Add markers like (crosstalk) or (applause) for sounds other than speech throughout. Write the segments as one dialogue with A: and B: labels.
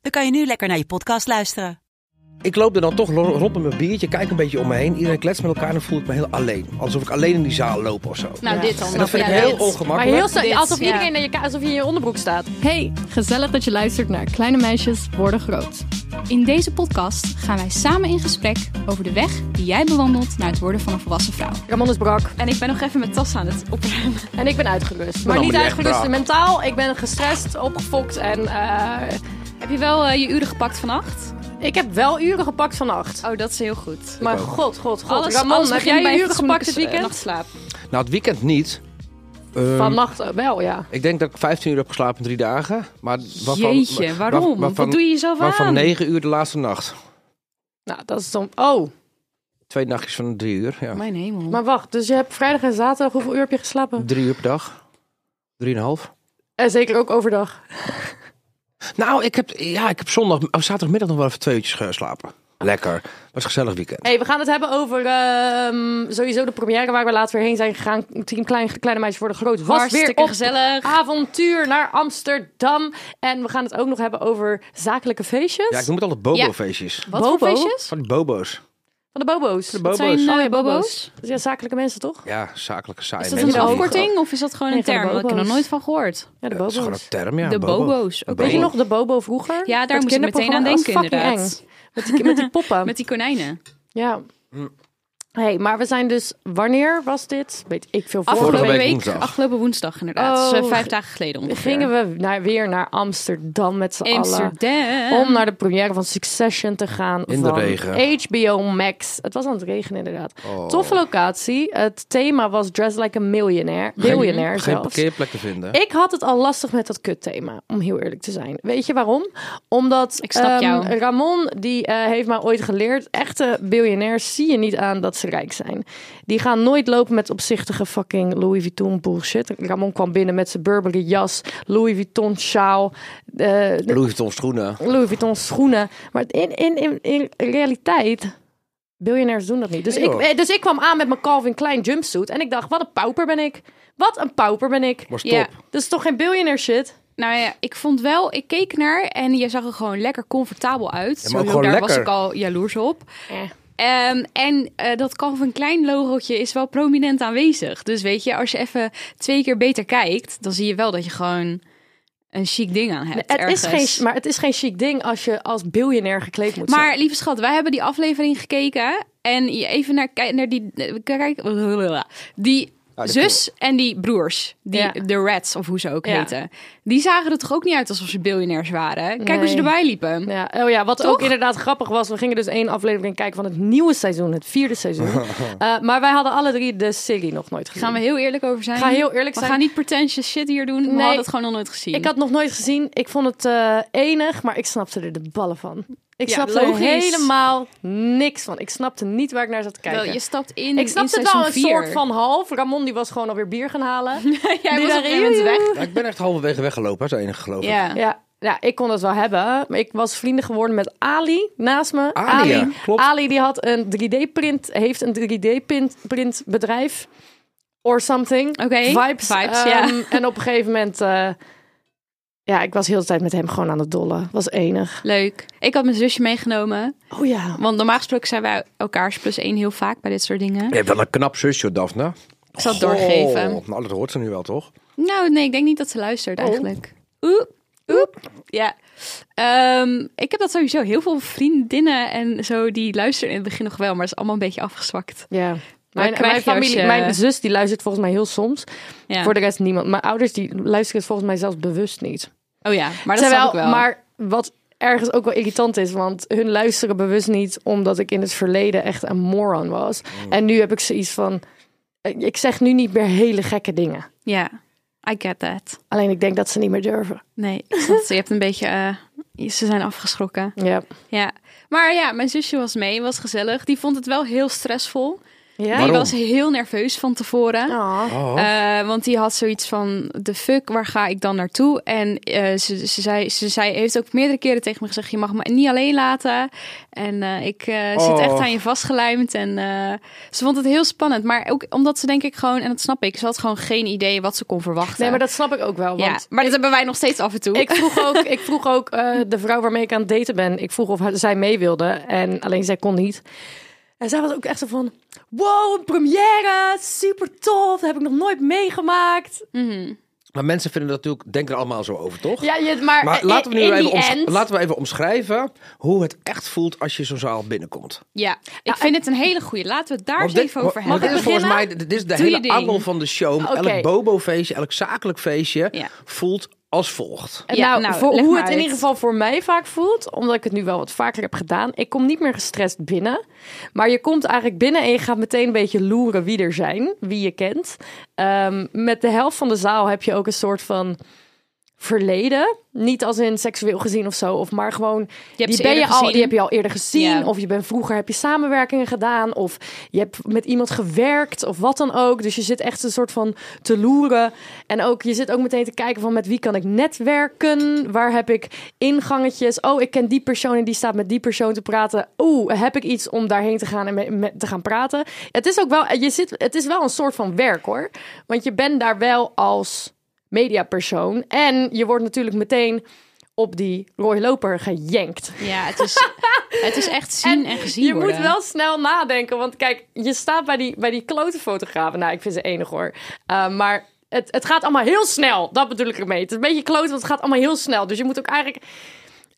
A: dan kan je nu lekker naar je podcast luisteren.
B: Ik loop er dan toch lo- rond met mijn biertje, kijk een beetje om me heen. Iedereen kletst met elkaar en dan voel ik me heel alleen. Alsof ik alleen in die zaal loop of zo.
C: Nou, dit
B: en dat vind ik
C: ja,
B: heel
C: dit.
D: Maar
B: ongemakkelijk.
D: heel snel,
C: Dit,
D: alsof
C: ja.
D: iedereen in je, ka- alsof je in je onderbroek staat.
E: Hey, gezellig dat je luistert naar Kleine Meisjes Worden Groot.
F: In deze podcast gaan wij samen in gesprek over de weg die jij bewandelt naar het worden van een volwassen vrouw.
D: Ramon is brak.
F: En ik ben nog even mijn tas aan het opruimen.
D: En ik ben uitgerust.
B: allemaal
D: Maar niet
B: niet echt
D: uitgerust
B: brak.
D: mentaal. Ik ben gestrest, opgefokt en eh,
F: Heb je wel eh, je uren gepakt vannacht?
D: ik heb wel uren gepakt vannacht.
F: Oh, dat is heel goed.
D: Maar god, god, god.
F: Alles-
D: Ramon,
F: alles
D: heb
F: begint
D: jij
F: bij
D: je uren
F: fatsoenlijke
D: gepakt dit
F: s- eh,
D: weekend?
F: nachtslaap.
B: Nou, het weekend niet. Ehm,
D: Vannacht wel, ja.
B: ik denk dat ik 15 uur heb geslapen in drie dagen. Maar waarvan,
F: Jeetje,
B: waar-
F: waarom?
B: waarvan,
F: Wat doe je jezelf
B: waarvan
F: aan?
B: 9 uur de laatste nacht.
D: Nou, dat is dan... Oh,
B: Twee nachtjes van de drie uur. Ja.
F: Mijn hemel.
D: maar wacht. Dus je hebt vrijdag en zaterdag... Hoeveel uur heb je geslapen?
B: Drie uur per dag. Drieënhalf.
D: En eh, zeker ook overdag.
B: Nou, ik heb, ja, ik heb zondag, oh, zaterdagmiddag nog wel even twee uurtjes geslapen. Lekker. Was een gezellig weekend.
D: hey, we gaan het hebben over ehm, sowieso de première waar we later weer heen zijn gegaan. Team Klein, Kleine Meisjes Worden Groot was
F: Hartstikke
D: weer op
F: gezellig.
D: avontuur naar Amsterdam. En we gaan het ook nog hebben over zakelijke feestjes.
B: Ja, ik noem het altijd bobo-feestjes.
D: Wat
F: voor
D: Bobo?
F: feestjes?
B: Van die bobo's.
D: Van de bobo's.
B: bobo's.
F: Zijn
D: Oh ja,
F: eh, bobo's?
D: bobo's. Ja, zakelijke mensen toch?
B: Ja, zakelijke saaie
F: Is dat
B: mensen.
F: een
D: Ja,
B: die-
F: afkorting of is dat gewoon een
D: Nee, gewoon
F: term? Ik heb er nog
D: bobo's.
F: nooit van gehoord.
D: Ja, de
B: Ja, dat is gewoon
D: bobo's.
B: een term, ja.
F: De
B: bobo.
F: bobo's,
B: Een
F: oké.
D: Weet je
B: bobo.
D: nog de bobo vroeger?
F: Ja, daar
D: Dat
F: moest ik meteen aan
D: kinderprogramma?
F: denken
D: Dat was fucking
F: inderdaad.
D: eng. Met die, met die
F: (laughs)
D: poppen.
F: Met die konijnen.
D: Ja.
B: Hm.
D: hey, maar we zijn dus... Wanneer was dit? Weet ik veel.
F: Afgelopen
B: week
F: week,
B: woensdag.
F: afgelopen woensdag inderdaad.
D: Oh,
F: dus, eh, vijf dagen geleden ongeveer.
D: gingen we naar, weer naar Amsterdam met z'n allen.
F: Amsterdam.
D: Om naar de première van Succession te gaan.
B: In de
D: van
B: regen. Oh.
D: HBO Max. Het was aan het regenen, inderdaad. Toffe locatie. Het thema was Dress Like a Millionaire. Billionaire
B: Geen
D: zelfs.
B: parkeerplek te vinden.
D: Ik had het al lastig met dat kutthema, om heel eerlijk te zijn. Weet je waarom? Omdat
F: Ik snap
D: ehm,
F: jou.
D: Ramon, die eh, heeft mij ooit geleerd, echte biljonairs zie je niet aan dat ze rijk zijn. Die gaan nooit lopen met opzichtige fucking Louis Vuitton bullshit. Ramon kwam binnen met zijn Burberry jas, Louis Vuitton sjaal, eh,
B: Louis Vuitton schoenen.
D: Louis Vuitton schoenen. Maar in, in, in, in realiteit, biljonairs doen dat niet. Dus,
B: Nee,
D: ik,
B: joh.
D: eh, dus ik kwam aan met mijn Calvin Klein jumpsuit en ik dacht, wat een pauper ben ik. Wat een pauper ben ik.
B: Was top.
F: Ja.
D: Dat is toch geen biljonair shit?
F: Nou ja, ik vond wel, ik keek naar en je zag er gewoon lekker comfortabel uit.
B: Ja, maar ook
F: Sowieso,
B: gewoon
F: daar was
B: lekker.
F: ik al jaloers op.
D: Eh.
F: Ehm, en eh dat Calvin Klein logootje is wel prominent aanwezig. Dus weet je, als je even twee keer beter kijkt, dan zie je wel dat je gewoon een chic ding aan hebt.
D: Het is
F: ergens.
D: geen, maar het is geen chic ding als je als biljonair gekleed moet zijn.
F: Maar lieve schat, wij hebben die aflevering gekeken. En je even naar, kijk- naar die, eh, kijk, die
B: Ah, die
F: zus en die broers. Die,
D: Ja.
F: De Rats, of hoe ze ook
D: Ja.
F: heten. Die zagen er toch ook niet uit alsof ze biljonairs waren? Kijk hoe ze
D: Nee.
F: erbij liepen.
D: Ja, oh ja, wat ook inderdaad grappig was. We gingen dus één aflevering kijken van het nieuwe seizoen, het vierde seizoen. Eh, maar wij hadden alle drie de serie nog nooit gezien.
F: Gaan we heel eerlijk over zijn.
D: Ga heel eerlijk
F: we
D: zijn.
F: gaan niet pretentious shit hier doen. We
D: Nee.
F: hadden het gewoon nog nooit gezien.
D: Ik had nog nooit gezien. Ik vond het eh, enig, maar ik snapte er de ballen van. Ik
F: Ja,
D: snapte er
F: logisch.
D: helemaal niks van. Ik snapte niet waar ik naar zat te kijken.
F: Wel, je stapt in
D: ik snapte
F: in
D: het wel een
F: seizoen
D: soort
F: vier.
D: van half. Ramon die was gewoon alweer bier gaan halen.
F: (laughs) Jij
D: Die
F: was op
D: daar-
F: een gegeven moment weg.
B: Ja, ik ben echt halverwege weggelopen, dat is het enige geloof ik.
F: (laughs) Ja.
D: Ja, ja, ik kon dat wel hebben. Maar ik was vrienden geworden met Ali naast me.
B: Ali, Ah, ja, klopt.
D: Ali die had een 3D-print, heeft een 3D-print print bedrijf. Or something.
F: Oké,
D: Vibes.
F: vibes,
D: Ehm,
F: ja.
D: En op een gegeven moment... eh, ja, ik was heel de tijd met hem gewoon aan het dollen. Was enig.
F: Leuk. Ik had mijn zusje meegenomen.
D: Oh ja.
F: Want normaal gesproken zijn wij elkaars plus één heel vaak bij dit soort dingen.
B: Je hebt wel een knap zusje, Daphne.
F: Ik zal het doorgeven.
B: Goh, Nou, dat hoort ze nu wel, toch?
F: Nou, nee, ik denk niet dat ze luistert
D: Oh.
F: eigenlijk. Oep, oep. Ja. Ehm, ik heb dat sowieso heel veel vriendinnen en zo die luisteren in het begin nog wel, maar dat is allemaal een beetje afgezwakt.
D: Ja. Mijn,
F: krijg
D: mijn
F: je als
D: familie,
F: je-
D: mijn zus die luistert volgens mij heel soms.
F: Ja.
D: Voor de rest niemand. Mijn ouders die luisteren het volgens mij zelfs bewust niet.
F: Oh ja, maar dat
D: Terwijl,
F: snap ik wel.
D: Maar wat ergens ook wel irritant is, want hun luisteren bewust niet omdat ik in het verleden echt een moron was.
F: Oh.
D: En nu heb ik zoiets van, eh, ik zeg nu niet meer hele gekke dingen.
F: Ja, I get that.
D: Alleen ik denk dat ze niet meer durven.
F: Nee, ik snap het. je hebt een beetje eh, ze zijn afgeschrokken.
D: Ja.
F: Ja. Maar ja, mijn zusje was mee, was gezellig. Die vond het wel heel stressvol.
D: Ja.
B: Waarom?
F: Die was heel nerveus van tevoren.
D: Ah.
B: Oh.
F: Eh, want die had zoiets van, de fuck, waar ga ik dan naartoe? En eh, ze, ze, zei, ze zei, heeft ook meerdere keren tegen me gezegd, je mag me niet alleen laten. En eh, ik eh, zit
B: Oh.
F: echt aan je vastgelijmd. En eh, ze vond het heel spannend. Maar ook omdat ze denk ik gewoon, en dat snap ik, ze had gewoon geen idee wat ze kon verwachten.
D: Nee, maar dat snap ik ook wel.
F: ja,
D: Want
F: maar dat hebben wij nog steeds af en toe.
D: Ik vroeg ook, ik vroeg ook eh, de vrouw waarmee ik aan het daten ben. Ik vroeg of zij mee wilde. En alleen zij kon niet. En zij was ook echt zo van... Wow, een première! Super tof! Dat heb ik nog nooit meegemaakt.
B: Maar mensen vinden dat natuurlijk, denken er allemaal zo over, toch?
D: Ja, je, maar,
B: Maar
D: in-
B: laten we, nu
D: in
B: even
D: the
B: omsch-
D: end-
B: laten we even omschrijven hoe het echt voelt als je zo'n zaal binnenkomt.
F: ja, ik vind het een hele goeie. Laten we het daar eens
B: dit-
F: even over
B: want
F: hebben.
B: dit is volgens mij dit is de
F: Doe je
B: hele
F: ding.
B: angel van de show. Met
D: Oké.
B: Elk bobo-feestje, elk zakelijk feestje
F: Ja.
B: voelt als volgt.
D: En
F: Ja,
D: nou,
F: nou,
D: voor
F: leg
D: hoe
F: maar
D: het in
F: uit.
D: ieder geval voor mij vaak voelt, omdat ik het nu wel wat vaker heb gedaan. Ik kom niet meer gestrest binnen, maar je komt eigenlijk binnen en je gaat meteen een beetje loeren wie er zijn, wie je kent. Ehm, met de helft van de zaal heb je ook een soort van verleden, niet als in seksueel gezien of zo, of maar gewoon
F: hebt
D: die
F: ze
D: ben je
F: eerder
D: al,
F: gezien.
D: die heb je al eerder gezien,
F: Ja.
D: of je bent vroeger heb je samenwerkingen gedaan, of je hebt met iemand gewerkt of wat dan ook. Dus je zit echt een soort van te loeren. En ook, je zit ook meteen te kijken van met wie kan ik netwerken? Waar heb ik ingangetjes? Oh, ik ken die persoon en die staat met die persoon te praten. Oeh, heb ik iets om daarheen te gaan en me- me- te gaan praten? Het is ook wel, je zit, het is wel een soort van werk hoor. Want je bent daar wel als mediapersoon. En je wordt natuurlijk meteen op die rode loper gejenkt.
F: Ja, het
D: (laughs)
F: is, het is echt zien en, gezien
D: Je
F: worden.
D: moet wel snel nadenken, want kijk, je staat bij die, bij die klote fotografen. Nou, ik vind ze enig hoor. Uh, maar het, het gaat allemaal heel snel, dat bedoel ik ermee. Het is een beetje klote, want het gaat allemaal heel snel. Dus je moet ook eigenlijk...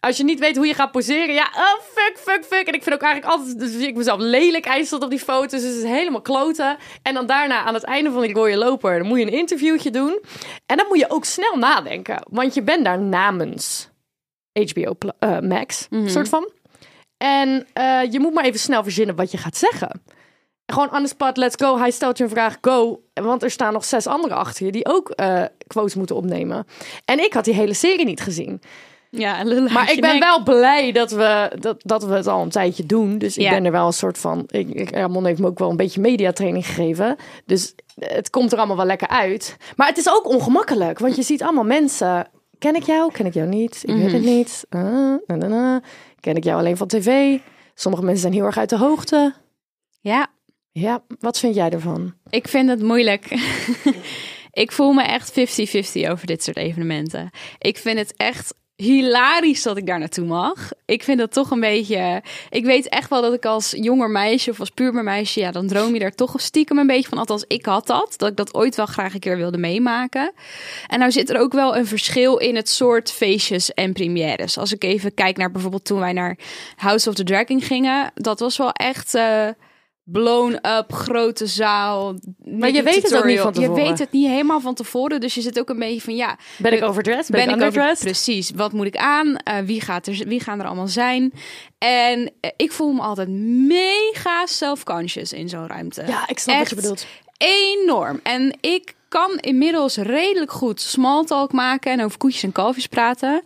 D: Als je niet weet hoe je gaat poseren, ja, oh, fuck, fuck, fuck. En ik vind ook eigenlijk altijd, dus vind ik mezelf lelijk eisteld op die foto's. Dus het is helemaal kloten. En dan daarna, aan het einde van die rode loper, dan moet je een interviewtje doen. En dan moet je ook snel nadenken. Want je bent daar namens HBO Pla- eh, Max,
F: Mhm.
D: soort van. En eh, je moet maar even snel verzinnen wat je gaat zeggen. Gewoon on the spot, let's go. Hij stelt je een vraag, go. Want er staan nog zes anderen achter je die ook eh, quotes moeten opnemen. En ik had die hele serie niet gezien.
F: Ja, lul uit
D: Maar
F: je
D: ik ben
F: nek.
D: wel blij dat we, dat, dat we het al een tijdje doen. Dus ik
F: Ja.
D: ben er wel een soort van... Ik, ik, Ramon heeft me ook wel een beetje mediatraining gegeven. Dus het komt er allemaal wel lekker uit. Maar het is ook ongemakkelijk. Want je ziet allemaal mensen... Ken ik jou? Ken ik jou niet? Ik weet het niet. Ah, na, na, na. Ken ik jou alleen van tv? Sommige mensen zijn heel erg uit de hoogte.
F: Ja,
D: Ja, wat vind jij ervan?
F: Ik vind het moeilijk. (laughs) ik voel me echt 50-50 over dit soort evenementen. Ik vind het echt hilarisch dat ik daar naartoe mag. Ik vind dat toch een beetje... Ik weet echt wel dat ik als jonger meisje of als puber meisje... ja, dan droom je daar toch stiekem een beetje van. Althans, ik had dat. Dat ik dat ooit wel graag een keer wilde meemaken. En nou zit er ook wel een verschil in het soort feestjes en premières. Als ik even kijk naar bijvoorbeeld toen wij naar House of the Dragon gingen... dat was wel echt... eh, blown up, grote zaal.
D: Maar je weet het ook niet van tevoren.
F: Je weet het niet helemaal van tevoren. Dus je zit ook een beetje van ja,
D: Ben ik
F: Eh,
D: overdressed? Ben, ik
F: over-
D: underdressed?
F: precies. Wat moet ik aan? Eh, wie, gaat er, wie gaan er allemaal zijn? En eh, ik voel me altijd mega self-conscious in zo'n ruimte.
D: ja, ik snap
F: Echt
D: wat je bedoelt.
F: Enorm. En ik kan inmiddels redelijk goed small talk maken en over koetjes en kalfjes praten.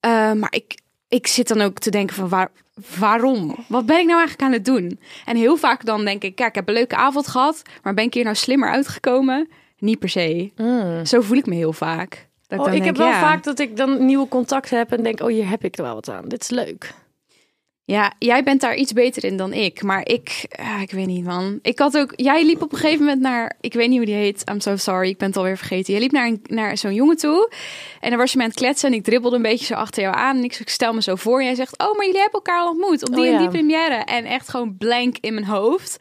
F: Eh, maar ik, ik zit dan ook te denken van waar, waarom? Wat ben ik nou eigenlijk aan het doen? En heel vaak dan denk ik, kijk, ik heb een leuke avond gehad, maar ben ik hier nou slimmer uitgekomen? Niet per se. Zo voel ik me heel vaak. Dat
D: Mm. Oh,
F: dan
D: ik
F: denk,
D: heb wel
F: ja.
D: vaak dat ik dan nieuwe contacten heb en denk, oh, hier heb ik er wel wat aan. Dit is leuk.
F: Ja, jij bent daar iets beter in dan ik. Maar ik, ah, ik weet niet, man. Ik had ook. Jij liep op een gegeven moment naar. Ik weet niet hoe die heet. I'm so sorry. Ik ben het alweer vergeten. Jij liep naar, een- naar zo'n jongen toe. En dan was je me aan het kletsen. En ik dribbelde een beetje zo achter jou aan. En ik, ik stel me zo voor. En jij zegt: Oh, maar jullie hebben elkaar al ontmoet. Op die
D: Oh,
F: en
D: ja.
F: die première. En echt gewoon blank in mijn hoofd.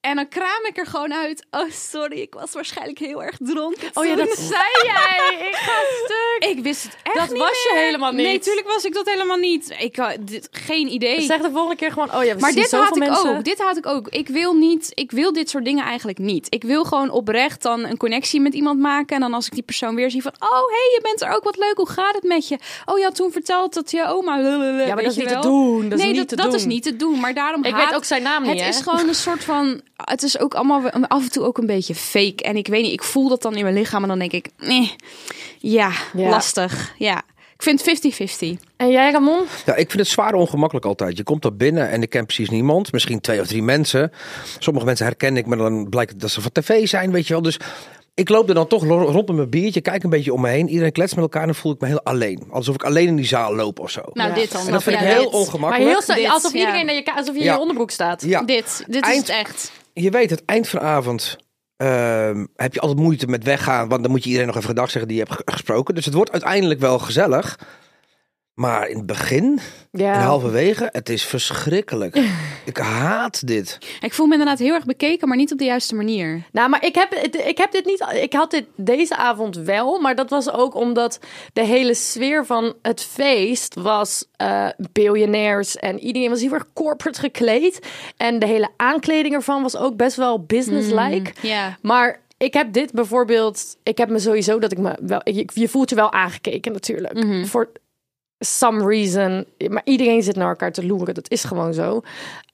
F: En dan kraam ik er gewoon uit. Oh, sorry. Ik was waarschijnlijk heel erg dronken.
D: Oh ja,
F: toen."
D: dat zei jij. Ik ga stuk.
F: Ik wist het echt
D: Dat
F: niet
D: was je
F: meer.
D: helemaal niet.
F: Nee, natuurlijk was ik dat helemaal niet. Ik had dit, geen idee.
D: Zeg de volgende keer gewoon, oh ja, we
F: Maar
D: zien
F: dit
D: zoveel
F: haat ik
D: mensen.
F: ook. Dit haat ik ook. Ik wil niet. Ik wil dit soort dingen eigenlijk niet. Ik wil gewoon oprecht dan een connectie met iemand maken. En dan als ik die persoon weer zie van. Oh, hey, je bent er ook. Wat leuk. Hoe gaat het met je? Oh, je had toen verteld dat je oma.
D: Ja, maar dat is niet te doen. Dat
F: nee,
D: is niet
F: dat,
D: te
F: dat
D: doen.
F: is niet te doen. Maar daarom
D: Ik
F: haat
D: weet ook zijn naam niet,
F: het
D: hè?
F: is gewoon een soort van. Het is ook allemaal we- af en toe ook een beetje fake. En ik weet niet, ik voel dat dan in mijn lichaam. En dan denk ik, nee, ja,
D: Ja.
F: lastig. Ja. Ik vind 50-50.
D: En jij, Ramon?
B: Ja, ik vind het zwaar ongemakkelijk altijd. Je komt daar binnen en ik ken precies niemand. Misschien twee of drie mensen. Sommige mensen herken ik, maar dan blijkt dat ze van tv zijn, weet je wel. Dus ik loop er dan toch lo- rond met mijn biertje, kijk een beetje om me heen. Iedereen klets met elkaar en dan voel ik me heel alleen. Alsof ik alleen in die zaal loop of zo.
F: Nou,
D: Ja.
F: dit dan.
B: en dat vind
F: Ja,
B: ik heel
F: dit.
D: Maar
B: ongemakkelijk.
D: heel snel,
F: Dit,
D: alsof
F: ja.
D: iedereen naar je, ka- alsof je in
B: Ja.
D: je onderbroek staat.
B: ja.
F: Dit, dit is
B: Eind-
F: het echt.
B: Je weet, het eind van de avond ehm, heb je altijd moeite met weggaan. Want dan moet je iedereen nog even gedag zeggen die je hebt ge- gesproken. Dus het wordt uiteindelijk wel gezellig. Maar in het begin, en halverwege, het is
F: (laughs)
B: verschrikkelijk. ik haat dit.
F: Ik voel me inderdaad heel erg bekeken, maar niet op de juiste manier.
D: Nou, maar ik heb, het- ik heb dit niet. Ik had dit deze avond wel. Maar dat was ook omdat de hele sfeer van het feest was eh biljonairs. En iedereen was heel erg corporate gekleed. En de hele aankleding ervan was ook best wel businesslike.
F: Ja.
D: Maar ik heb dit bijvoorbeeld. Ik heb me sowieso dat ik me wel. Je, je voelt je wel aangekeken natuurlijk. Voor some reason. Maar iedereen zit naar elkaar te loeren. Dat is gewoon zo.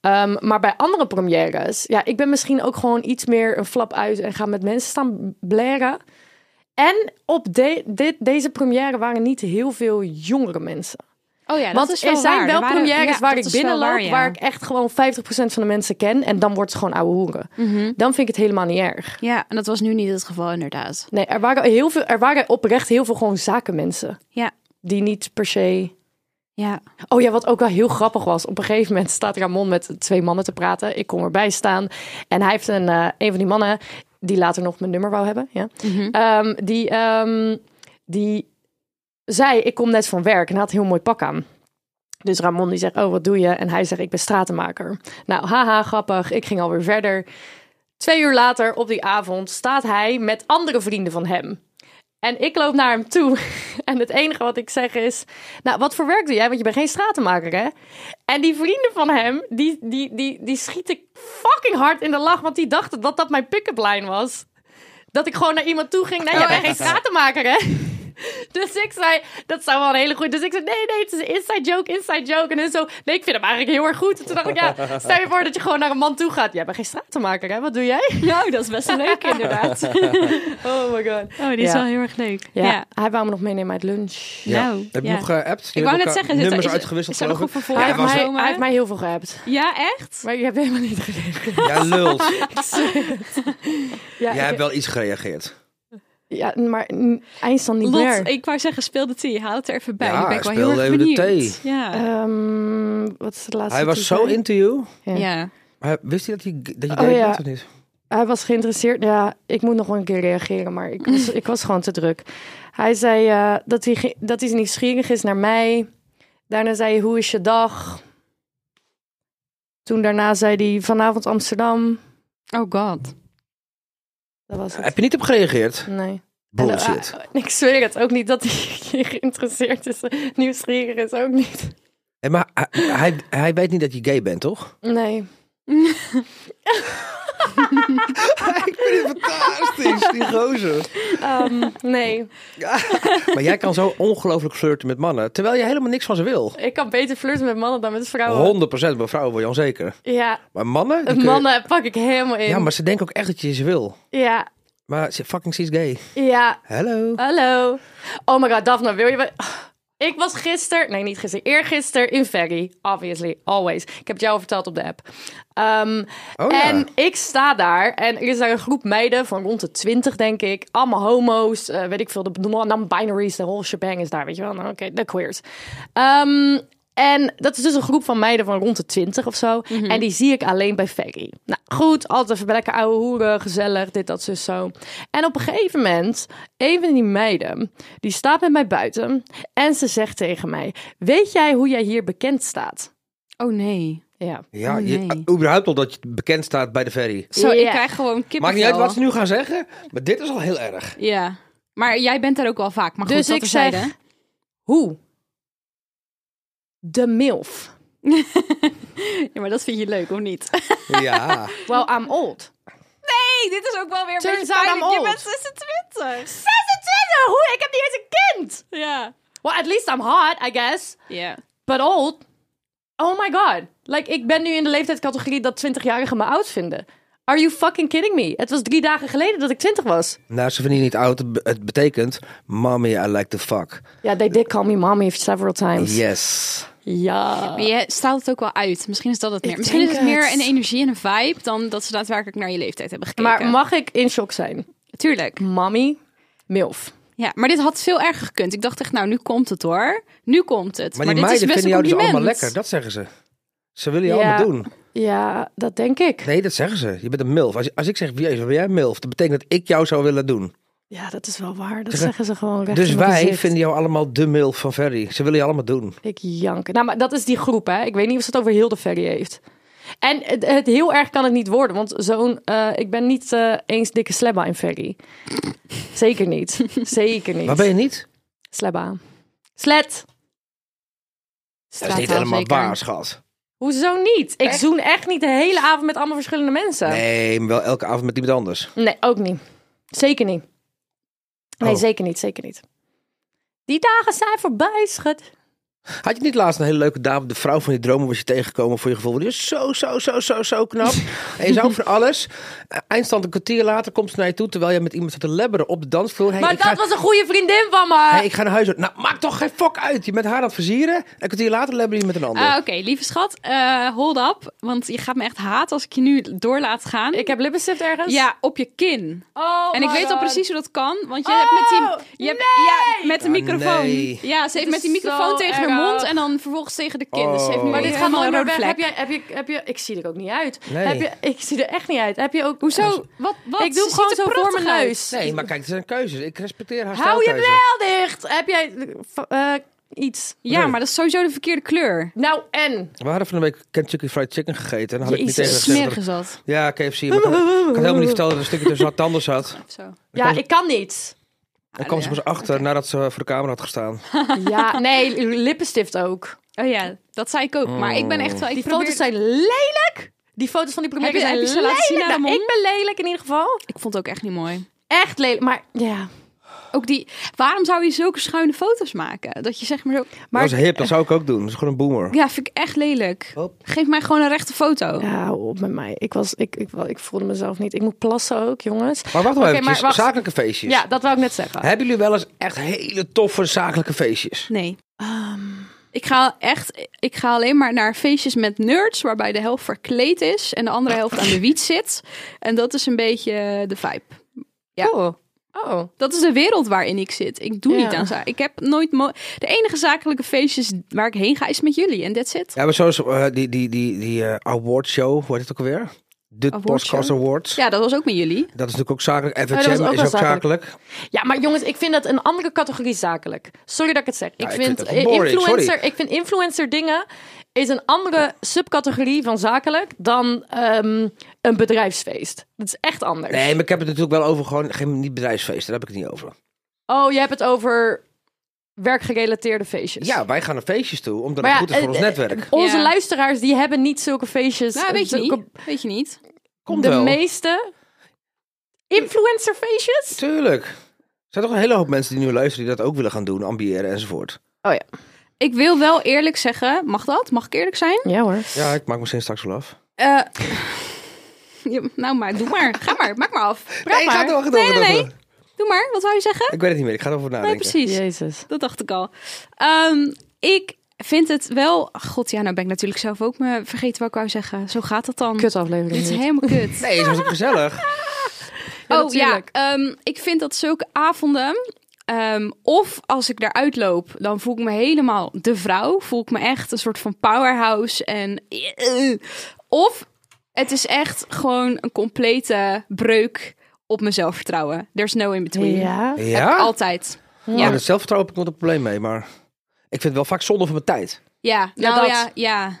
D: Ehm, maar bij andere premières. Ja, ik ben misschien ook gewoon iets meer een flap uit en ga met mensen staan blaren. En op de- dit, deze première waren niet heel veel jongere mensen.
F: Oh ja, dat
D: Want
F: is wel
D: er zijn
F: waar.
D: wel
F: Er waren-
D: premières
F: ja,
D: waar
F: dat
D: ik
F: is wel
D: binnenloop,
F: waar, ja.
D: waar ik echt gewoon 50% van de mensen ken. En dan wordt het gewoon ouwe hoeren.
F: Mhm.
D: Dan vind ik het helemaal niet erg.
F: Ja, en dat was nu niet het geval inderdaad.
D: Nee, er waren, heel veel, er waren oprecht heel veel gewoon zakenmensen.
F: Ja,
D: Die niet per se...
F: ja.
D: Oh ja, wat ook wel heel grappig was. Op een gegeven moment staat Ramon met twee mannen te praten. Ik kom erbij staan. En hij heeft een, eh, een van die mannen, die later nog mijn nummer wou hebben. Ja. Ehm, die, ehm, die zei, ik kom net van werk. En hij had een heel mooi pak aan. Dus Ramon die zegt, oh wat doe je? En hij zegt, ik ben stratenmaker. Nou, haha, grappig. Ik ging alweer verder. Twee uur later op die avond staat hij met andere vrienden van hem. En ik loop naar hem toe. (laughs) En het enige wat ik zeg is... Nou, wat voor werk doe jij? Want je bent geen stratenmaker, hè? En die vrienden van hem, die, die, die, die schieten fucking hard in de lach. Want die dachten dat dat mijn pick-up line was. Dat ik gewoon naar iemand toe ging. Nee, jij bent geen stratenmaker, hè? (laughs) Dus ik zei, dat zou wel een hele goede... Dus ik zei, nee, nee, het is een inside joke, inside joke. En hun zo, nee, ik vind hem eigenlijk heel erg goed. En toen dacht ik, ja, stel je voor dat je gewoon naar een man toe gaat. Jij bent geen stratenmaker, hè? Wat doe jij?
F: Nou, dat is best leuk (laughs) inderdaad.
D: (laughs) Oh my god.
F: Oh, die is
D: Ja.
F: wel heel erg leuk.
D: Ja,
F: Ja.
D: hij wou me nog meenemen uit lunch.
F: Nou,
B: Heb je
F: ja.
B: nog geappt?
F: Ik wou net zeggen, zit-
B: nummers
F: is-
B: uitgewisseld
F: is er nog
B: geloof ik?
F: een vervolg?
D: hij,
B: Ja,
D: heeft
F: was
D: mij,
F: zomaar.
D: hij heeft mij heel veel geappt.
F: Ja, echt?
D: Maar je hebt helemaal niet gereageerd.
B: Jij lult.
F: (laughs)
D: Ik zweer het.
B: Jij
D: ja,
B: hebt
D: ik-
B: wel iets gereageerd.
D: ja, maar n- eindstand niet
F: Lot,
D: meer.
F: ik wou zeggen, speel de thee. Houd het er even bij.
B: Ja,
F: ik ben ik wel
B: speel
F: heel erg
B: even de
F: benieuwd.
B: thee.
F: Ja.
D: Ehm, wat is het laatste?
B: Hij was
D: tweet?
B: zo into you.
F: ja.
D: Ja.
B: Maar wist hij dat je, dat je
D: Oh,
B: gay
D: ja.
B: bent of niet?
D: Hij was geïnteresseerd. Ja, ik moet nog wel een keer reageren, maar ik (laughs) was, ik was gewoon te druk. Hij zei eh, dat, hij, ge- dat hij nieuwsgierig is naar mij. Daarna zei hij, hoe is je dag? Toen daarna zei hij, vanavond Amsterdam.
F: Oh god.
D: Dat was het.
B: Heb je niet op gereageerd?
D: Nee. En, eh,
B: Bullshit.
D: (laughs)
F: ah.
D: ik zweer het ook niet dat hij (laughs) geïnteresseerd is. Nieuwsgierig is ook niet.
B: Hé, maar hij, hij, hij weet niet dat je gay bent, toch?
D: Nee.
B: (laughs) ik vind het fantastisch, die gozer.
D: Ehm, nee.
B: Maar jij kan zo ongelooflijk flirten met mannen, terwijl je helemaal niks van ze wil.
D: Ik kan beter flirten met mannen dan met vrouwen.
B: 100% bij vrouwen wil je onzeker.
D: Ja,
B: Maar mannen? die kun je-
D: mannen pak ik helemaal in.
B: Ja, maar ze denken ook echt dat je ze wil.
D: ja,
B: Maar ze fucking ze is gay.
D: ja.
B: Hallo.
D: Hallo. Oh my god, Daphne, wil je... wel- Ik was gisteren, nee niet gisteren, eergisteren in Ferry. Obviously, always. Ik heb het jou al verteld op de app. Ehm,
B: Oh ja.
D: En ik sta daar en er is daar een groep meiden van rond de 20, denk ik. Allemaal homo's, eh, weet ik veel, de non-binaries, de whole shebang is daar, weet je wel. Nou, Oké, de queers. Ehm, en dat is dus een groep van meiden van rond de 20 of zo. En die zie ik alleen bij Ferry. Nou goed, altijd even lekker ouwe hoeren, gezellig, dit, dat, zus, zo. En op een gegeven moment, een van die meiden, die staat met mij buiten. En ze zegt tegen mij, weet jij hoe jij hier bekend staat?
F: Oh nee.
D: Ja.
B: Ja, je, Ah,
F: Nee.
B: überhaupt al dat je bekend staat bij de ferry.
F: Zo, ik
D: Ja.
F: krijg gewoon kippenvel.
B: Maakt niet uit wat ze nu gaan zeggen, maar dit is al heel
F: (laughs)
B: erg.
F: Ja. Maar jij bent daar ook wel vaak. Maar goed,
D: Dus
F: dat
D: ik
F: terzijde.
D: zeg- Hoe? De MILF.
F: Ja, maar dat vind je leuk, of niet?
B: Ja.
D: Well, I'm
F: (laughs)
D: old.
F: Hey, dit is ook wel weer een
D: Turns
F: beetje
D: out
F: pijnlijk.
D: I'm
F: Je
D: old.
F: bent 26.
D: 26! Hoe? Ik heb niet eens een kind!
F: Ja.
D: Well, at least I'm hot, I guess.
F: Ja.
D: But old? Oh my god. Like, ik ben nu in de leeftijdscategorie dat 20-jarigen me oud vinden. Are you fucking kidding me? Het was drie dagen geleden dat ik twintig was.
B: Nou, ze vinden je niet oud. Het betekent, mommy, I like the fuck.
D: Ja, they did call me mommy several times.
B: Yes.
D: Ja.
F: Maar je straalt het ook wel uit. Misschien is dat het meer.
D: Ik
F: Misschien is
D: denk
F: het meer
D: het.
F: een energie en een vibe dan dat ze daadwerkelijk naar je leeftijd hebben gekeken.
D: Maar mag ik in shock zijn?
F: Tuurlijk.
D: Mommy, milf.
F: Ja, maar dit had veel erger gekund. Ik dacht echt, nou, nu komt het hoor. Nu komt het.
B: Maar,
F: dit
B: die
F: is
B: meiden
F: best
B: vinden
F: een
B: jou dus allemaal
F: compliment.
B: lekker. Dat zeggen ze. Ze willen je
D: Ja.
B: allemaal doen.
D: Ja, dat denk ik.
B: Nee, dat zeggen ze. Je bent een milf. Als, als ik zeg, jezus, ben jij een milf? Dat betekent dat ik jou zou willen doen.
D: Ja, dat is wel waar. Dat
B: Zeggen-
D: zeggen ze gewoon recht
B: Dus
D: in mijn
B: wij
D: gezicht.
B: vinden jou allemaal de milf van Ferry. Ze willen je allemaal doen.
D: Ik jank. Nou, maar dat is die groep, hè. Ik weet niet of ze het over heel de ferry heeft. En het, het heel erg kan het niet worden. Want zo'n... eh, ik ben niet eh, eens dikke slebba in ferry. Zeker
F: (laughs)
D: niet. Zeker niet.
B: Maar ben je niet?
D: Slebba. Slet.
B: Dat
F: Staat
B: is niet
F: wel
B: helemaal
F: zeker.
B: waar, schat.
D: Hoezo niet? Ik zoen echt niet de hele avond met allemaal verschillende mensen.
B: Nee, maar wel elke avond met iemand anders.
D: Nee, ook niet. Zeker niet. Nee,
B: Oh.
D: zeker niet, zeker niet. Die dagen zijn voorbij, schat.
B: Had je niet laatst een hele leuke dame, de vrouw van je dromen, was je tegengekomen voor je gevoel? Die is zo, zo, zo, zo, zo (laughs) knap. en je zou voor alles. Eh, Eindstand een kwartier later komt ze naar je toe, terwijl je met iemand zat te lebberen op de dansvloer. Hey,
D: maar
B: ik
D: dat
B: ga-
D: was een goede vriendin van me.
B: hey, ik ga naar huis. Nou, maakt toch geen fok uit. Je bent haar aan het versieren. Een kwartier later lebber je met een ander.
F: Ah, Oké, lieve schat, eh, hold up. Want je gaat me echt haten als ik je nu door laat gaan.
D: Ik heb lippenstift ergens.
F: Ja, op je kin.
D: Oh
F: en ik
D: my
F: weet al
D: God. Oh,
F: precies hoe dat kan. Want je hebt met die. Je hebt, ja, met de
B: Ah,
F: microfoon.
B: nee.
F: Ja, ze heeft
D: is
F: met die
D: zo
F: microfoon tegen haar
D: erg.
F: mond en dan vervolgens tegen de kin. Dus ze heeft nu
B: Oh.
D: Maar dit gaat
F: helemaal
D: nooit
F: een
D: meer
F: rode
D: weg.
F: vlek.
D: Heb je, heb, je, heb je... Ik zie er ook niet uit.
B: Nee.
D: Heb je, ik zie er echt niet uit. Heb je ook...
F: Hoezo? Wat, wat?
D: Ik doe
F: Ze
D: gewoon
F: ziet
D: zo
F: er
D: voor mijn
F: prachtig uit.
D: neus.
B: Nee, maar kijk, er zijn keuzes. Ik respecteer haar
D: Hou je
B: stijlkeuze.
D: wel dicht. Heb jij eh, eh, iets?
F: Ja, maar dat is sowieso de verkeerde kleur.
D: Nou, en?
B: We hadden van de week Kentucky Fried Chicken gegeten. En dan had ik niet
D: Jezus,
B: tegen haar gezegd.
F: Smerig is dat.
B: dat- Ja, KFC. Maar ik had- ik had helemaal niet verteld dat er een stukje tussen haar tanden
D: (laughs)
B: zat.
F: Of zo.
D: Ja, ik kan niet.
B: Dan kwam ze pas achter nadat ze voor de camera had gestaan.
D: Ja, nee, lippenstift ook.
F: Oh ja, dat zei ik ook. Maar ik ben
B: Oh.
F: echt wel... Ik
D: Die
F: probeer-
D: foto's zijn lelijk. Die foto's van die
F: Heb
D: première
F: je-
D: zijn
F: heb je ze laten
D: lelijk.
F: zien aan
D: Nou,
F: Ramon?
D: ik ben lelijk in ieder geval.
F: Ik vond het ook echt niet mooi.
D: Echt lelijk. Maar ja.
F: Ook die... Waarom zou je zulke schuine foto's maken? Dat je zeg maar zo...
B: dat is hip, dat zou ik ook doen. Dat is gewoon een boomer.
F: Ja, vind ik echt lelijk.
B: Hop.
F: Geef mij gewoon een rechte foto.
D: Ja, hou op met mij. Ik, was, ik, ik, ik voelde mezelf niet. Ik moet plassen ook, jongens.
B: Maar wacht maar
D: Oké,
B: eventjes.
D: maar wacht.
B: Zakelijke feestjes.
D: Ja, dat wou ik net zeggen.
B: Hebben jullie wel eens echt hele toffe zakelijke feestjes?
F: Nee. Ehm. Ik ga echt, ik ga alleen maar naar feestjes met nerds, waarbij de helft verkleed is en de andere helft aan de wiet zit. En dat is een beetje de vibe. Ja.
D: Cool. Oh.
F: Dat is de wereld waarin ik zit. Ik doe
D: Ja.
F: niet aan zaken. Ik heb nooit. mo- de enige zakelijke feestjes waar ik heen ga is met jullie en that's it.
B: Ja, maar zoals eh, die, die, die, die eh, awardshow, hoe heet het ook alweer? De
F: Awardshow?
B: Podcast Awards.
F: Ja, dat was ook met jullie.
B: Dat is natuurlijk ook zakelijk. FHM
D: Oh, dat was
B: is
D: ook
B: ook
D: wel zakelijk.
B: zakelijk.
D: Ja, maar jongens, ik vind dat een andere categorie zakelijk. Sorry dat ik het zeg. ik,
B: ik
D: vind
B: vind het ook boring,
D: influencer,
B: sorry.
D: ik vind influencer dingen is een andere subcategorie van zakelijk dan ehm, een bedrijfsfeest. Dat is echt anders.
B: Nee, maar ik heb het natuurlijk wel over gewoon geen niet bedrijfsfeesten. Daar heb ik het niet over.
D: Oh, je hebt het over werkgerelateerde feestjes.
B: Ja, wij gaan naar feestjes toe, omdat
D: Maar
B: het goed is
D: ja,
B: voor
D: eh,
B: ons netwerk.
D: Onze
F: Ja.
D: luisteraars die hebben niet zulke feestjes.
F: Nou, weet je
D: Zulke-
F: niet. Weet je niet.
B: Komt
D: de
B: wel.
D: meeste influencer feestjes.
B: Tuurlijk. Er zijn toch een hele hoop mensen die nu luisteren die dat ook willen gaan doen, ambiëren enzovoort.
D: Oh ja.
F: Ik wil wel eerlijk zeggen, mag dat? Mag ik eerlijk zijn?
D: Ja hoor.
B: Ja, ik maak misschien straks wel af.
F: Eh, (laughs) ja, nou, maar doe maar. Ga maar. Maak maar af. Praat
B: Nee, ik ga
F: maar.
B: het wel gedoe-
F: nee, nee, nee.
B: gedoe-
F: Doe maar. Wat wou je zeggen?
B: Ik weet het niet meer, ik ga erover nadenken.
F: Nee, precies.
D: Jezus.
F: Dat dacht ik al. Ehm, ik vind het wel... Ach, God, ja, nou ben ik natuurlijk zelf ook me vergeten wat ik wou zeggen. Zo gaat dat dan.
D: Kut
F: Dit is
D: aflevering.
F: helemaal kut.
B: Nee, het was ook
D: (laughs)
B: gezellig.
D: Ja,
F: oh ja,
D: natuurlijk.
F: ehm, ik vind dat zulke avonden... ehm, of als ik daaruit loop, dan voel ik me helemaal de vrouw. Voel ik me echt een soort van powerhouse. En, eh, of het is echt gewoon een complete breuk op mijn zelfvertrouwen. There's no in between.
D: Ja.
B: Ja?
F: Altijd.
B: Ja,
F: Ja.
B: dat zelfvertrouwen heb ik nog een probleem mee, maar ik vind het wel vaak zonde van mijn tijd.
F: Ja,
D: Ja,
F: nou
D: dat.
F: ja, ja.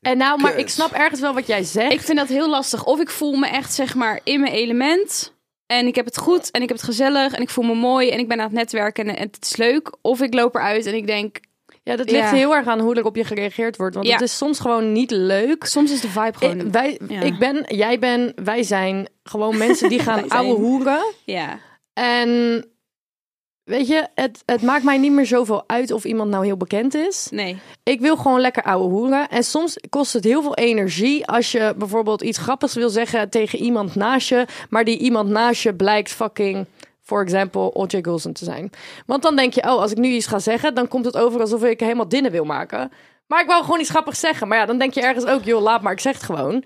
D: En nou, maar
B: Kut.
D: ik snap ergens wel wat jij zegt.
F: Ik vind dat heel lastig. Of ik voel me echt, zeg maar, in mijn element. En ik heb het goed en ik heb het gezellig en ik voel me mooi en ik ben aan het netwerken en het is leuk. Of ik loop eruit en ik denk,
D: Ja, dat ligt
F: Ja.
D: heel erg aan hoe er op je gereageerd wordt. Want
F: Ja.
D: het is soms gewoon niet leuk.
F: soms is de vibe gewoon...
D: Ik, wij,
F: Ja.
D: ik ben, jij ben,
F: (laughs)
D: wij zijn gewoon mensen die gaan
F: Wij zijn.
D: ouwe hoeren.
F: ja.
D: En Weet je, het, het maakt mij niet meer zoveel uit of iemand nou heel bekend is.
F: Nee.
D: Ik wil gewoon lekker ouwe hoeren. En soms kost het heel veel energie als je bijvoorbeeld iets grappigs wil zeggen tegen iemand naast je. Maar die iemand naast je blijkt fucking, for example, O.J. Wilson te zijn. Want dan denk je, oh, als ik nu iets ga zeggen, dan komt het over alsof ik helemaal dinnen wil maken. Maar ik wou gewoon iets grappigs zeggen. Maar ja, dan denk je ergens ook, joh, laat maar, ik zeg het gewoon.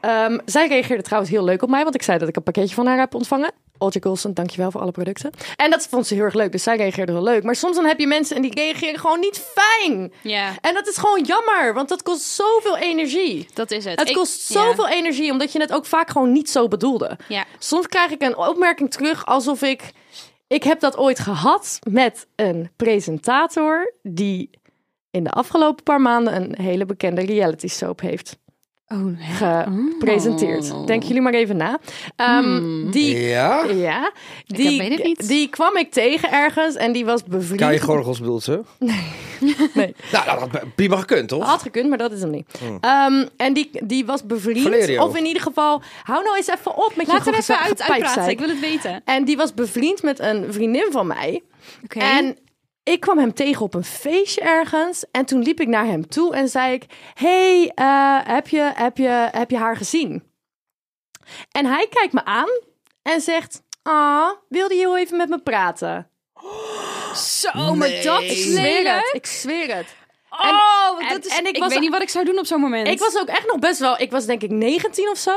D: Ehm, zij reageerde trouwens heel leuk op mij, want ik zei dat ik een pakketje van haar heb ontvangen. Olja Golson, dankjewel voor alle producten. En dat vond ze heel erg leuk, dus zij reageerde heel leuk. Maar soms dan heb je mensen en die reageren gewoon niet fijn.
F: Ja,
D: En dat is gewoon jammer, want dat kost zoveel energie.
F: dat is het.
D: Het
F: Ik-
D: kost
F: ja.
D: zoveel energie, omdat je het ook vaak gewoon niet zo bedoelde.
F: Ja.
D: Soms krijg ik een opmerking terug alsof ik... Ik heb dat ooit gehad met een presentator die in de afgelopen paar maanden een hele bekende reality soap heeft
F: Oh, hè?
D: gepresenteerd.
F: Oh. Hmm.
D: Denk jullie maar even na. Ehm, Die,
B: Ja?
D: ja, die,
F: weet het niet.
D: die kwam ik tegen ergens en die was bevriend.
B: Kai Gorgels bedoelt ze? (laughs)
D: Nee.
B: Nou, dat had prima gekund, toch?
D: Had gekund, maar dat is hem niet. Ehm, en die, die was bevriend.
B: Valerio.
D: Of in ieder geval, hou nou eens even op met
F: Laat
D: je
F: er
D: geze-
F: even uit,
D: gepijp
F: uitpraten.
D: zijn.
F: Ik wil het weten.
D: En die was bevriend met een vriendin van mij.
F: Oké.
D: En ik kwam hem tegen op een feestje ergens. En toen liep ik naar hem toe en zei ik... hey, eh, heb, je, heb, je, heb je haar gezien? En hij kijkt me aan en zegt... Ah, wilde je heel even met me praten?
F: Zo, maar dat is
D: Ik
F: Oh
D: zweer
F: lelijk.
D: het, ik zweer het.
F: Oh,
D: en-
F: dat is,
D: en ik
F: ik,
D: was-
F: weet niet wat ik zou doen op zo'n moment.
D: Ik was ook echt nog best wel... Ik was denk ik 19 of zo.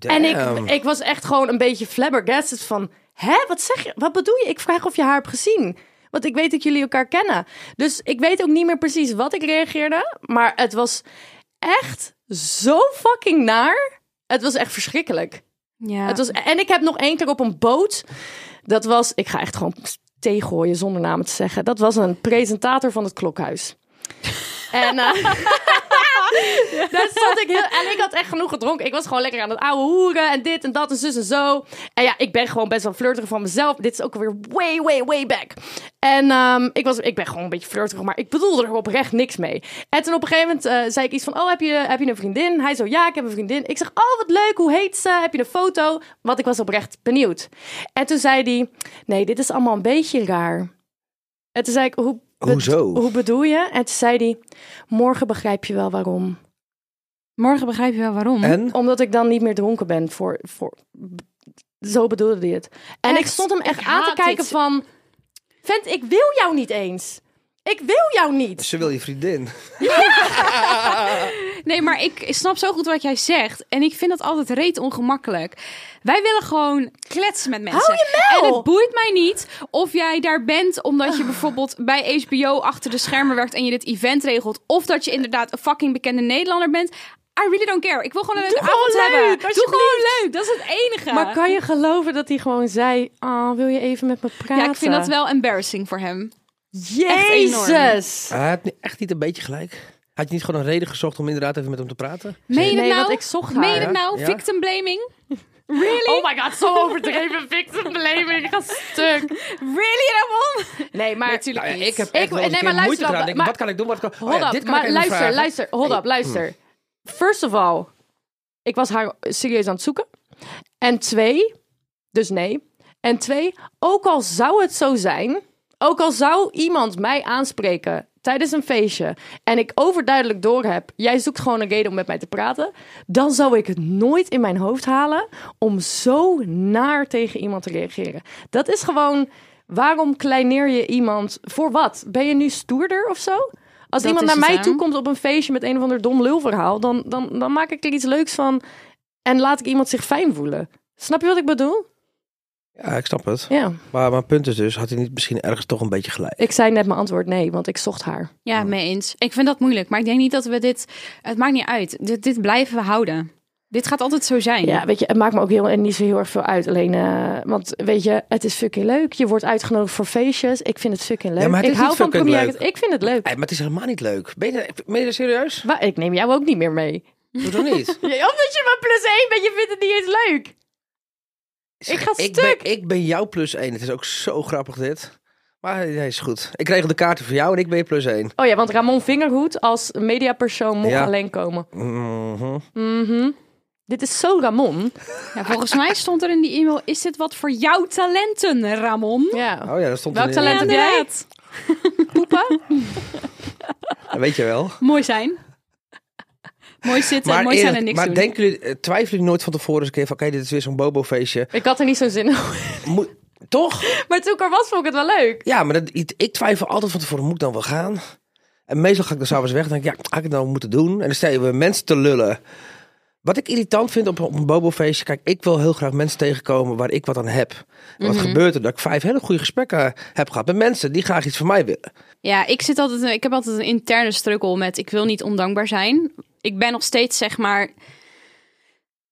D: En
B: Damn.
D: ik, ik was echt gewoon een beetje flabbergasted van... Hè, wat zeg je? Wat bedoel je? Ik vraag of je haar hebt gezien. Want ik weet dat jullie elkaar kennen. Dus ik weet ook niet meer precies wat ik reageerde. Maar het was echt zo fucking naar. Het was echt verschrikkelijk.
F: Ja.
D: Het was, en ik heb nog één keer op een boot. Dat was... Ik ga echt gewoon theegooien zonder namen te zeggen. Dat was een presentator van het klokhuis. En eh, (laughs) daar stond ik heel... En ik had echt genoeg gedronken. Ik was gewoon lekker aan het ouwe hoeren en dit en dat en zus en zo. En ja, ik ben gewoon best wel flirterig van mezelf. Dit is ook weer way, way, way back. En ehm, ik, was, ik ben gewoon een beetje flirterig, maar ik bedoelde er oprecht niks mee. En toen op een gegeven moment eh, zei ik iets van, oh, heb je, heb je een vriendin? Hij zo, ja, ik heb een vriendin. Ik zeg, oh, wat leuk, hoe heet ze? Heb je een foto? Want ik was oprecht benieuwd. En toen zei hij, nee, dit is allemaal een beetje raar. En toen zei ik, hoe, bet-
B: Hoezo?
D: hoe bedoel je? En toen zei hij, morgen begrijp je wel waarom.
F: Morgen begrijp je wel waarom.
B: En?
D: Omdat ik dan niet meer dronken ben voor. voor zo bedoelde hij het. En
F: Echt?
D: ik stond hem echt
F: Ik
D: aan te
F: haat
D: kijken
F: dit.
D: van. Vent, ik wil jou niet eens. Ik wil jou niet.
F: Dus-
B: Ze wil je vriendin.
F: Nee, maar ik snap zo goed wat jij zegt. En ik vind dat altijd reet ongemakkelijk. Wij willen gewoon kletsen met mensen.
D: Hou je mel!
F: En het boeit mij niet of jij daar bent omdat je bijvoorbeeld bij HBO achter de schermen werkt en je dit event regelt. Of dat je inderdaad een fucking bekende Nederlander bent. I really don't care. Ik wil gewoon een leuke
D: gewoon
F: avond
D: leuk,
F: hebben. Doe
D: alsjeblieft.
F: gewoon leuk. Dat is het enige.
D: Maar kan je geloven dat hij gewoon zei: Oh, wil je even met me praten?
F: ja, ik vind dat wel embarrassing voor hem.
D: Jezus!
B: Hij had ni- echt niet een beetje gelijk. Had je niet gewoon een reden gezocht om inderdaad even met hem te praten?
F: Meen je
D: Nee,
F: het nou?
D: want ik zocht
F: Meen
D: haar,
F: je het
B: hè?
F: nou?
B: Ja.
F: Victim blaming?
D: (laughs) Oh my god, zo overdreven victim blaming. Ga stuk.
F: Really, Ramon?
D: Nee, maar
F: Natuurlijk
B: Nou ja,
F: niet.
B: ik heb echt wel een
D: nee,
B: keer
D: maar
B: moeite
D: luister
B: eraan.
D: dan,
B: Denk,
D: maar-
B: wat kan ik doen? Wat kan, oh
D: Hold
B: ja,
D: up,
B: dit kan ik
D: maar
B: even
D: luister,
B: vragen.
D: luister, hold up, luister. First of all, ik was haar serieus aan het zoeken. En twee, dus nee. En twee, ook al zou het zo zijn, ook al zou iemand mij aanspreken tijdens een feestje en ik overduidelijk doorheb, jij zoekt gewoon een reden om met mij te praten, dan zou ik het nooit in mijn hoofd halen om zo naar tegen iemand te reageren. Dat is gewoon, waarom kleineer je iemand voor wat? Ben je nu stoerder of zo? Als
F: Dat
D: iemand
F: is
D: naar mij
F: het, hè?
D: toe komt op een feestje met een of ander dom lulverhaal, dan, dan, dan maak ik er iets leuks van en laat ik iemand zich fijn voelen. Snap je wat ik bedoel?
B: Ja, ik snap het.
D: Ja.
B: Maar mijn punt is dus, had hij niet misschien ergens toch een beetje gelijk?
D: Ik zei net mijn antwoord nee, want ik zocht haar.
F: Ja, mee eens. Ik vind dat moeilijk, maar ik denk niet dat we dit. Het maakt niet uit. Dit, dit blijven we houden. Dit gaat altijd zo zijn.
D: Ja, weet je, het maakt me ook heel, en niet zo heel erg veel uit. Alleen, eh, want weet je, het is fucking leuk. Je wordt uitgenodigd voor feestjes. Ik vind het fucking leuk.
B: Ja, maar het
D: ik
B: is
D: hou
B: niet
D: van
B: fucking
D: premières.
B: leuk.
D: Ik vind het leuk.
B: Hey, maar het is helemaal niet leuk. Ben je, daar- ben je daar (laughs) serieus?
D: Maar ik neem jou ook niet meer mee.
B: Hoezo niet?
D: Ja, Omdat je maar plus één bent, je vindt het niet eens leuk. Ik ga
B: (laughs) ik
D: stuk.
B: Ben, ik ben jouw plus één. Het is ook zo grappig dit. Maar nee, is goed. Ik regel de kaarten voor jou en ik ben je plus één.
D: Oh ja, want Ramon Vingerhoed als mediapersoon mocht
B: Ja.
D: alleen komen.
B: Mhm.
D: Mhm. Dit is zo Ramon.
F: Ja, volgens mij stond er in die e-mail: Is dit wat voor jouw talenten, Ramon?
D: Ja.
B: Oh ja, dat stond
F: Welk
B: in-
F: talent heb jij?
D: inderdaad.
F: Poepen?
B: Ja, Weet je wel.
F: mooi zijn. (laughs) mooi zitten, mooi zijn
B: eerlijk-
F: en niks
B: maar
F: doen.
B: denken jullie, eh, twijfelen jullie nooit van tevoren eens een keer van... Oké, dit is weer zo'n bobo-feestje.
D: Ik had er niet zo'n zin in.
B: Moet- toch?
D: Maar toen ik er was, vond ik het wel leuk.
B: Ja, maar dat, ik, ik twijfel altijd van tevoren, moet ik dan wel gaan? En meestal ga ik dan s'avonds weg en denk ik, ja, had ik het nou moeten doen? En dan stel je weer mensen te lullen. Wat ik irritant vind op, een- op een bobo-feestje, kijk, ik wil heel graag mensen tegenkomen waar ik wat aan heb. En
F: Mhm.
B: Wat gebeurt er? Dat ik vijf hele goede gesprekken heb gehad met mensen die graag iets van mij willen.
F: Ja, ik, zit altijd, ik heb altijd een interne struggle met ik wil niet ondankbaar zijn. Ik ben nog steeds, zeg maar,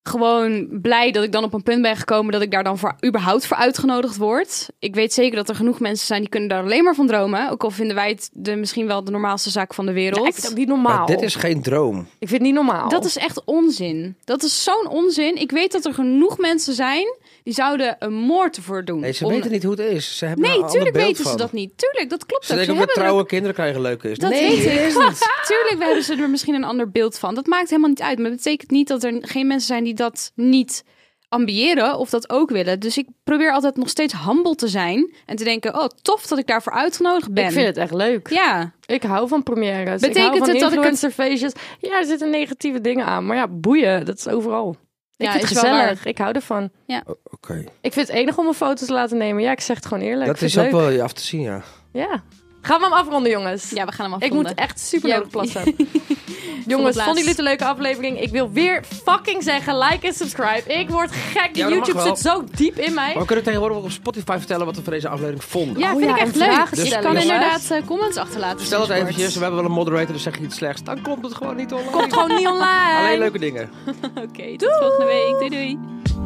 F: gewoon blij dat ik dan op een punt ben gekomen dat ik daar dan voor, überhaupt voor uitgenodigd word. Ik weet zeker dat er genoeg mensen zijn die kunnen daar alleen maar van dromen. Ook al vinden wij het de, misschien wel de normaalste zaak van de
D: Ja, ik
F: wereld.
D: vind het ook niet normaal.
B: Maar dit is geen droom.
D: Ik vind het niet normaal.
F: Dat is echt onzin. Dat is zo'n onzin. Ik weet dat er genoeg mensen zijn die zouden een moord ervoor doen.
B: Nee, ze
F: Om-
B: weten niet hoe het is. Ze hebben
F: Nee,
B: een ander
F: tuurlijk
B: beeld
F: weten
B: van.
F: ze dat niet. Tuurlijk, dat klopt
B: Ze
F: ook. Ze
B: denken ook dat
F: hebben er
B: trouwen
F: ook
B: kinderen krijgen leuk is.
F: Dat
B: nee,
F: weet ik.
D: (laughs)
B: is niet.
F: Tuurlijk hebben ze er misschien een ander beeld van. Dat maakt helemaal niet uit. Maar dat betekent niet dat er geen mensen zijn die dat niet ambiëren of dat ook willen. Dus ik probeer altijd nog steeds humble te zijn. En te denken, oh tof dat ik daarvoor uitgenodigd ben.
D: Ik vind het echt leuk.
F: Ja,
D: Ik hou van premières. ik hou
F: Betekent
D: van
F: het dat ik het-
D: influencerfeestjes. Ja, er zitten negatieve dingen aan. Maar ja, boeien. Dat is overal. Ik
F: Ja,
D: vind het
F: is wel
D: gezellig. Ik hou ervan.
B: Oké,
D: Ik vind het enig om mijn foto's te laten nemen. Ja, ik zeg het gewoon eerlijk. Ik
B: dat
D: vind
B: is
D: het
B: ook
D: leuk.
B: wel je af te zien, ja.
D: Ja. Gaan we hem afronden, jongens?
F: ja we gaan hem
D: Ik
F: afronden.
D: moet echt super
F: Ja.
D: nodig
F: (laughs)
D: plassen. Jongens,
F: plaats.
D: vonden jullie het een leuke aflevering? Ik wil weer fucking zeggen, like en subscribe. Ik word gek.
B: Ja, dat
D: YouTube
B: mag wel.
D: zit zo diep in mij.
B: Maar we kunnen tegenwoordig ook op Spotify vertellen wat we van deze aflevering vonden.
F: Ja,
D: Oh
F: vind
D: ja,
F: ik
D: en
F: echt
D: vragen
F: leuk. Dus
D: stellen,
F: ik kan
D: jongens.
F: inderdaad eh, comments achterlaten.
B: Stel het
F: sinds kort.
B: eventjes, we hebben wel een moderator, dan zeg je iets slechts. Dan komt het gewoon niet online.
D: (laughs) Komt gewoon niet online.
B: Alleen leuke dingen.
F: Oké, tot volgende week. Doei doei.